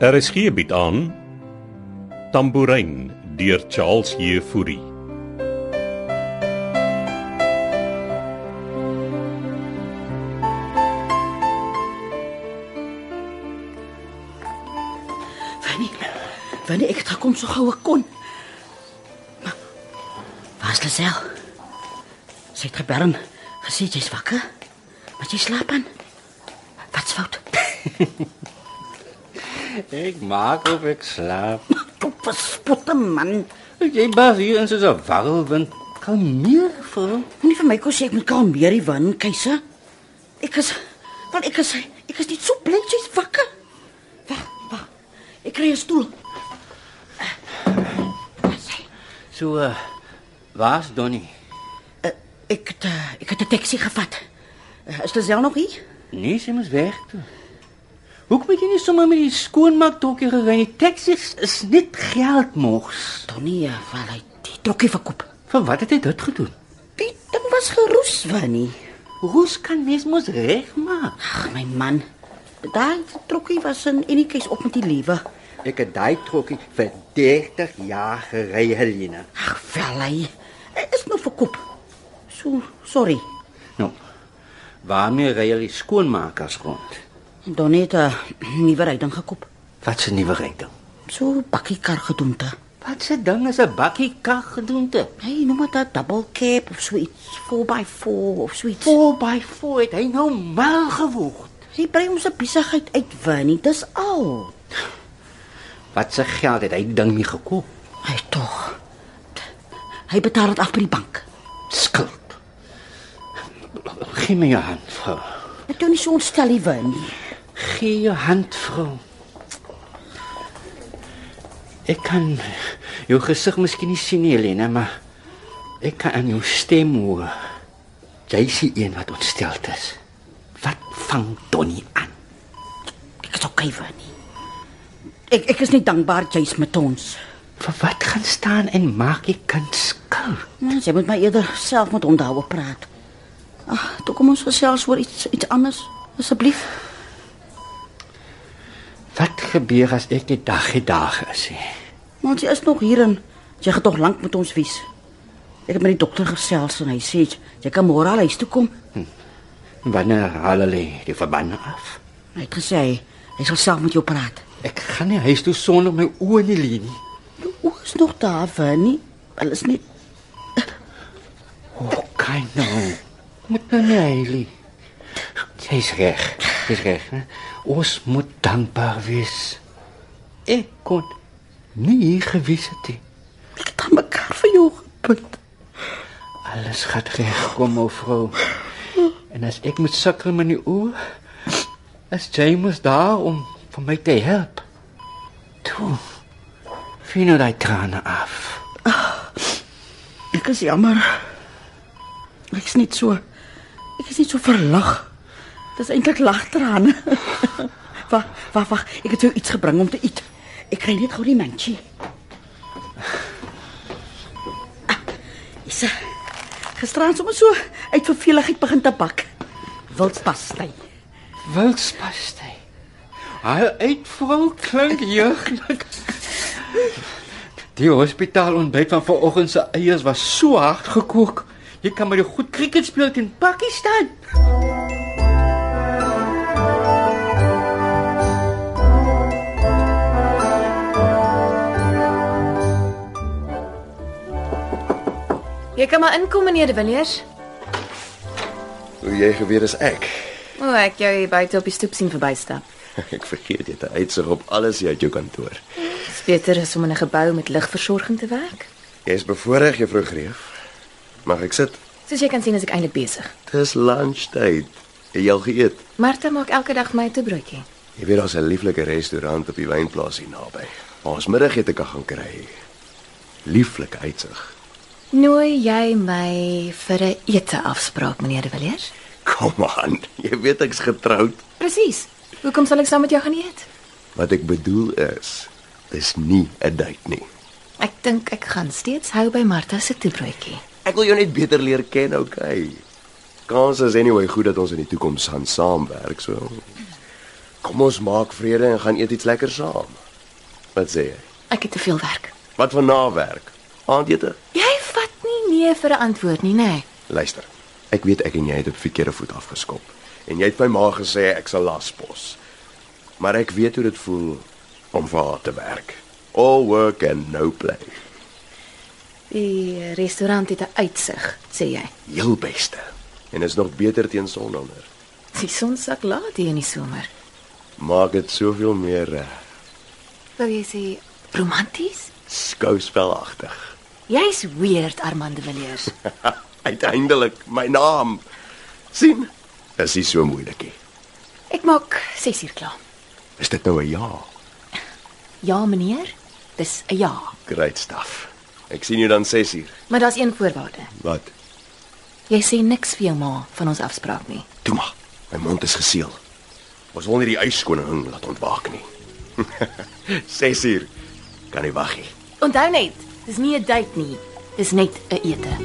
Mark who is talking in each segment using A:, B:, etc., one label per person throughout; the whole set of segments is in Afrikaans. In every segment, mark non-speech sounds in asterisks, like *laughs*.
A: RSG bied Er aan Tambourin deur Charles Jefouri.
B: Wanneer wanneer ek dit kom so gou ek kon. Maar, Waar is Lisel? Sy het gebel. Gesê jy's wakker. Maar jy slaap aan. Wat's fout? *laughs*
C: Ek maak of ek slaap.
B: Kom verspotte man.
C: Jy bas hier in soos 'n warrelwind. Kalmeer vir.
B: Moenie vir my kos sê ek moet kalmeer die wind, keuse. Ek is want ek is ek is net so bly jy's wakker. Wag, wag. Ek kry 'n stoel.
C: So uh, waar's Donnie?
B: Eh, Ek het, eh, ek het 'n taxi gevat. Eh, Is Lisel nog hier?
C: Nee, sy moes weg toe. Hoekom het jy nie sommer met die skoonmaak tokkie gery nie? Taxis is net geldmors.
B: Donnie, eh, wel hy die trokkie verkoop.
C: Vir wat het hy dit gedoen?
B: Die ding was geroes, Winnie.
C: Hoes kan mens mos regmaak?
B: Ag, my man. Daai trokkie was in enetjies op met die lewe.
C: Ek het daai trokkie vir 30 jaar gery, Helena.
B: Ag, wel hy. Hy Is nou verkoop. So, sorry.
C: Nou, waarmee ry jy die skoonmakers rond?
B: Dan het 'n nuwe ryding gekoop.
C: Wat 'n nuwe rykdom.
B: So bakkie kar gedoente.
C: Wat 'n ding is 'n bakkie kaggedoente.
B: Hy noem dit 'n double cab of so iets, 4x4 of so iets.
C: Voor by voor het hy nou mal geword.
B: Sy bring ons 'n besigheid uit, Winnie. Dis al.
C: Wat se geld het hy die ding nie gekoop?
B: Hy tog. Hy betaal dit af by die bank.
C: Skuld. Gee my jou hand, vrou.
B: Ek doen nie so ontstel hier, Winnie.
C: Gee jou hand, vrou. Ek kan jou gesig miskien nie sien nie, Helena, maar ek kan aan jou stem hoor. Jy is die een wat ontsteld is. Wat vang Donnie aan?
B: Ek is okay vir nie. Ek ek is net dankbaar jy's met ons.
C: Vir wat gaan staan en maak die kind skuld?
B: Mens, jy moet maar eerder self met hom daaroor praat. Ag, toe kom ons gesels oor iets iets anders asseblief.
C: Wat gebeur as ek nie dag en dag is nie?
B: Want jy is nog hier en jy gaan tog lank met ons wees. Ek het met die dokter gesels en hy sê jy kan môre al huis toe kom.
C: Wanneer haal hulle die verband af?
B: Hy het gesê hy, hy sal self met jou praat.
C: Ek gaan nie huis toe sonder my oë in die lyn nie.
B: Jou oë is nog daar, Fanny. Hulle is net
C: Hoe kan nou? Moet nou nie huilie. Jy's reg. Jy's reg. Hè? Ons moet dankbaar wees. Ek kon nie hier gewees het nie.
B: ek het aan mekaar vir jou gebind.
C: Alles gaan reg kom, o vrou. En as ek moet sukkel met die oë, is James daar om vir my te help. Toe. Vien nou daai trane af.
B: Ek is jammer. Ek's net so ek is net so verlig. Dit is eintlik lagtrane. *laughs* Wag, wag, wag. Ek het jou iets gebring om te eet. Ek kry net gou die mandjie. Ah, Is gisteraan sommer so uit verveligheid begin te bak. Wildpastei.
C: Wilspastei. Haal uit vrou klink jeuglik. Die hospitaal ontbyt van vanoggend se eiers was so hard gekook. Jy kan maar die goed krieket speel teen Pakistan.
D: Jy kan maar inkom meneer De Villiers.
E: Hoe jy geweet is ek. *laughs*
D: O, ek jou hier buite op die stoep sien verbystap.
E: Ek vergeet jy het 'n uitsig op alles hier uit jou kantoor.
D: Dis beter as om in 'n gebou met ligversorging te werk.
E: Jy is bevoorreg, Juffrou Greef. Mag ek sit?
D: Soos jy kan sien, is ek eintlik besig.
E: Dis lunchtyd. Het jy al geëet?
D: Martha maak elke dag my toebroodjie.
E: Jy weet daar's 'n lieflike restaurant op die wynplaas hier naby. Waar Ons middagete kan gaan kry. Lieflike uitsig. *laughs*
D: Nooi jy my vir 'n ete afspraak meneer De Villiers?
E: Kom aan. Jy weet ek's getroud.
D: Presies. Hoekom sal ek saam met jou gaan eet?
E: Wat ek bedoel is, dis nie 'n date nie.
D: Ek dink ek gaan steeds hou by Martha se toebroodjie.
E: Ek wil jou net beter leer ken, okay. Kans is anyway goed dat ons in die toekoms gaan saamwerk, so. Kom ons maak vrede en gaan eet iets lekker saam. Wat sê jy?
D: Ek het te veel werk.
E: Wat van nawerk? Aandete?
D: Jy vat nie nee vir 'n antwoord nie, nê? Nee.
E: Luister. Ek weet ek en jy het op verkeerde voet afgeskop en jy het my ma gesê ek sal laspos. Maar ek weet hoe dit voel om vir haar te werk. All work and no play.
D: Die restaurant het 'n uitsig, sê jy.
E: Heel beste. En is nog beter teen sononder.
D: Die son sak laat hier in die somer.
E: Maak dit soveel meer eh,
D: Wil jy sê romanties?
E: skouspelagtig.
D: Jy's weird, Armand de Villiers.
E: Uiteindelik my naam. sien? Is nie so moeilikie.
D: Ek maak 6 uur klaar.
E: Is dit nou 'n ja?
D: Ja, meneer. Dis 'n ja,
E: Great stuff. Ek sien jou dan 6 uur.
D: maar daar's een voorwaarde.
E: Wat?
D: Jy sê niks vir jou ma van ons afspraak nie.
E: Toe maar. My mond is geseël. Ons wil nie die ijskoning laat ontwaak nie. *laughs* 6 uur. Kan nie wag nie.
D: Onthou net, dis nie 'n date nie. Dis net 'n ete.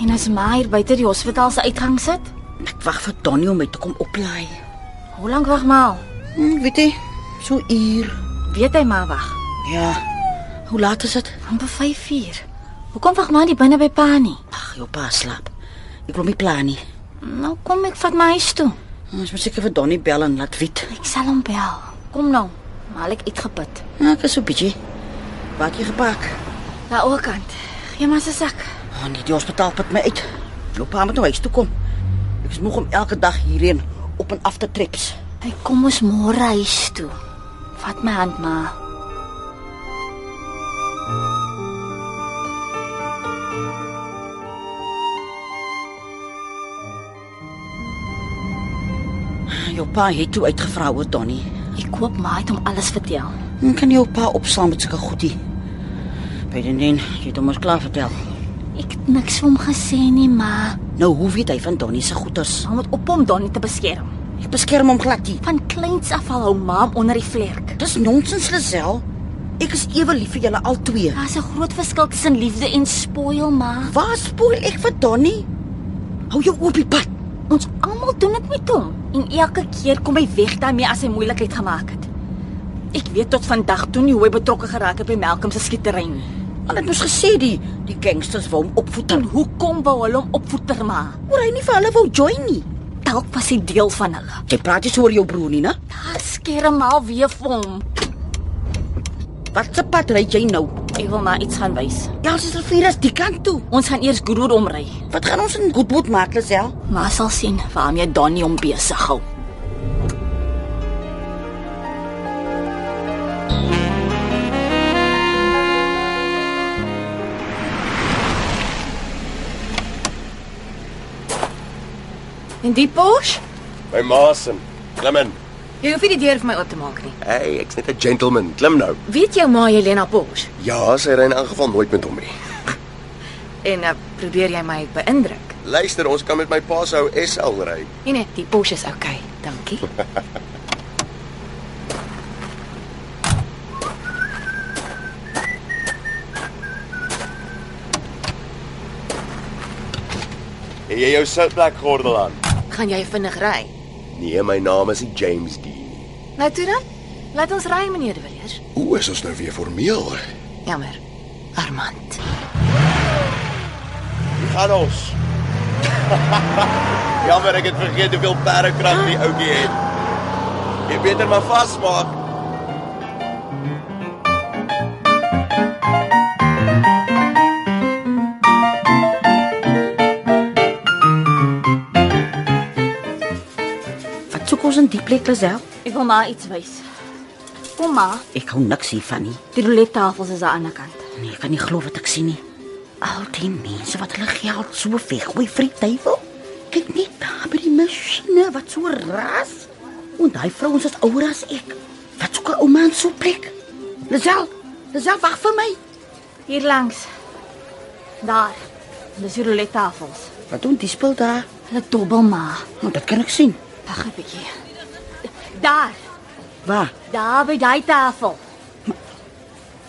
F: En as maar hier buite die hospitaal se uitgang sit,
B: Ek wag vir Donnie om my te kom oplaai.
F: hoe lank wag maar?
B: Hm, weet jy, so uur.
F: Weet hy maar wag.
B: Ja. Hoe laat is dit?
F: amper 5uur. Hoekom wag maar nie binne by pa nie?
B: Ag, jou pa slaap. Ek wil my plan nie.
F: Nou kom ek vat my huis toe.
B: Ons moet seker vir Donnie bel en laat weet.
F: Ek sal hom bel. Kom nou. Maar ek uitgeput.
B: Ja, ek is so bietjie. Wat jy gepak?
F: Daar ook kant. Gee maar sy sak.
B: Oh, nee, die hospitaal put my uit. Loop aan met nou huis toe kom. Ek is moeg om elke dag hierheen op en af te trips.
F: Hy kom ons môre huis toe. Vat my hand maar.
B: Jou pa het toe uitgevra oor Donnie.
F: Ek koop maar het hom alles vertel.
B: Hoe kan jou pa opslaan met sulke goedie? By die neen, jy het hom ons klaar vertel.
F: Ek het niks vir hom gesê nie, maar
B: Nou hoe weet hy van Donnie se goeders?
F: hom moet op hom Donnie te beskerm.
B: Ek beskerm hom glad nie.
F: Van kleins af al hou maam onder die vlerk.
B: Dis nonsens, Lisel. Ek is ewe lief vir julle al twee.
F: Daar's 'n groot verskil tussen liefde en spoil, maar
B: Waar spoel ek vir Donnie? Hou jou oop die pad.
F: Ons almal doen dit met hom en elke keer kom hy weg daarmee as hy moeilikheid gemaak het. Ek weet tot vandag toe nie hoe hy betrokke geraak het by Malcolm se skietery nie.
B: Want ek moes gesê die die gangsters wou hom opvoeter.
F: En hoekom wou hulle hom opvoeter maak?
B: Hoor hy nie vir hulle wou join nie.
F: Dalk was hy deel van hulle.
B: Jy praat nie so oor jou broer nie, né?
F: Daar skerm al weer vir hom.
B: Wat se pad ry jy nou?
F: Ek wil maar iets gaan wys.
B: Ja, ons is al vier as die kant toe.
F: Ons gaan eers Goodwood omry.
B: Wat gaan ons in Goodwood maak, Lisel?
F: Maar sal sien waarmee Donnie hom besig hou.
D: En die Porsche?
E: My ma se klim in.
D: Jy hoef nie die deur vir my oop te maak nie.
E: Hey, ek's net 'n gentleman. Klim nou.
D: Weet jou ma Helena Porsche?
E: Ja, sy ry in elk geval nooit met hom nie.
D: En uh, probeer jy my beïndruk?
E: Luister, ons kan met my pa se ou SL ry.
D: Nee nee, die Porsche is oukei, okay, dankie.
E: Het jy jou sitplek gordel aan?
D: Gaan jy vinnig ry?
E: Nee, my naam is nie James Dean nie.
D: Nou toe dan. Laat ons ry, meneer de Villiers.
E: Hoe is ons nou weer formeel?
D: Jammer. Armand.
E: Wie gaan ons? *laughs* Jammer, ek het vergeet hoeveel perdekrag die ouetjie het. Jy beter maar vasmaak.
B: Wat soek ons in die plek, Lisel?
F: Ek wil maar iets wys. Kom maar,
B: Ek hou niks hiervan nie.
F: die roulette tafels is aan die ander kant.
B: Nee, ek kan nie glo wat ek sien nie. Al die mense wat hulle geld so weggooi vir die duiwel. Kyk net daar by die masjiene, wat so ras. En daai vrouens is ouer as ek. Wat soek 'n ouma in so 'n plek? Lisel, Lisel wag vir my.
F: Hier langs. Daar. Dis die roulette tafels.
B: Wat doen die spul daar?
F: Hulle dobbel maar.
B: Nou, dat kan ek sien.
F: Wag 'n bietjie. Daar,
B: Waar?
F: daar by daai tafel.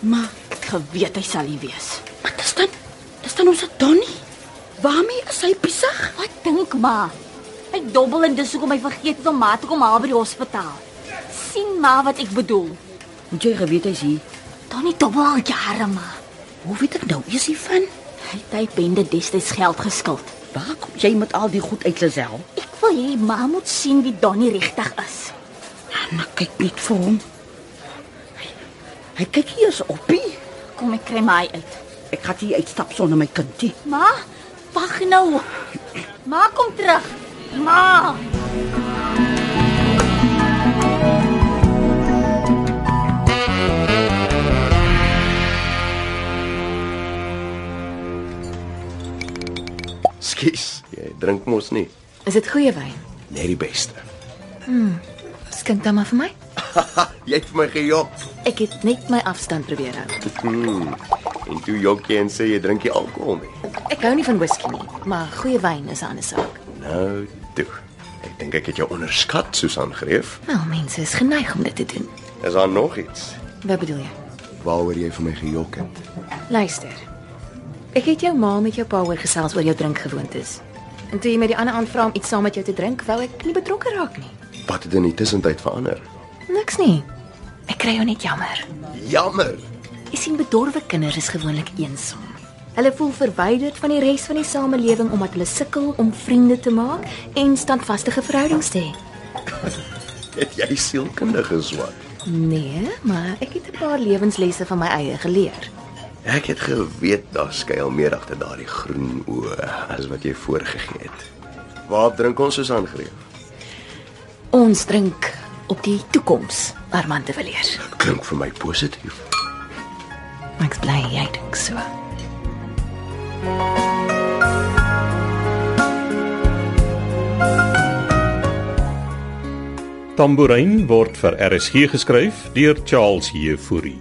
B: Maar
F: geweet hy sal hier wees.
B: Maar dis dan dis dan ons Donnie. Waarmee is hy besig?
F: Wat dink maar? Hy dobbel en dis hoekom hy vergeet het om ma te kom haal by die hospitaal. sien maar wat ek bedoel.
B: Moet jy geweet hy's hier.
F: Donnie dobbel al jare maar.
B: Hoe weet ek nou eers hiervan?
F: Hy het hy bende destyds geld geskuld.
B: Waar kom jy met al die goed uit Lisel?
F: Ek wil hê ma moet sien wie Donnie regtig is.
B: Anna kyk net vir hom. Hy, hy kyk hier so oppie.
F: Kom ek kry my uit.
B: Ek gaan hier uitstap sonder my kindie.
F: Ma, wag nou. Ma kom terug. Ma.
E: Skus, jy drink mos nie.
D: Is dit goeie wyn?
E: Net die beste.
D: Skink dan maar vir my.
E: Jy het vir my gejok.
D: Ek het net my afstand probeer hou.
E: Hmm, En toe jok jy en sê jy drink nie alkohol nie.
D: Ek hou nie van whisky nie, maar goeie wyn is 'n ander saak.
E: Nou, toe. Ek dink ek het jou onderskat, Susan Greef.
D: Wel, mense is geneig om dit te doen.
E: Is daar nog iets
D: Wat bedoel jy?
E: waaroor jy vir my gejok het?
D: Luister. Ek het jou ma met jou pa oor gesels oor jou drinkgewoontes. En toe jy met die ander aan vra om iets saam met jou te drink, wou ek nie betrokke raak nie.
E: Wat het in die tussentyd verander?
D: Niks nie. Ek kry jou net jammer.
E: Jammer.
D: Jy sien bedorwe kinders is gewoonlik eensaam. Hulle voel verwyderd van die res van die samelewing omdat hulle sukkel om vriende te maak en standvastige verhoudings te hê.
E: Het jy sielkundige swak?
D: Nee, maar ek het 'n paar lewenslesse van my eie geleer.
E: Ek het geweet daar skuil meer agter daardie groen oë as wat jy voorgegee het. Waar drink ons Susan Greef?
D: Ons drink op die toekoms, Armand de Villiers.
E: Klink vir my positief.
D: Ek's bly jy dink so.
A: Tambourin word vir RSG geskryf deur Charles Heffury.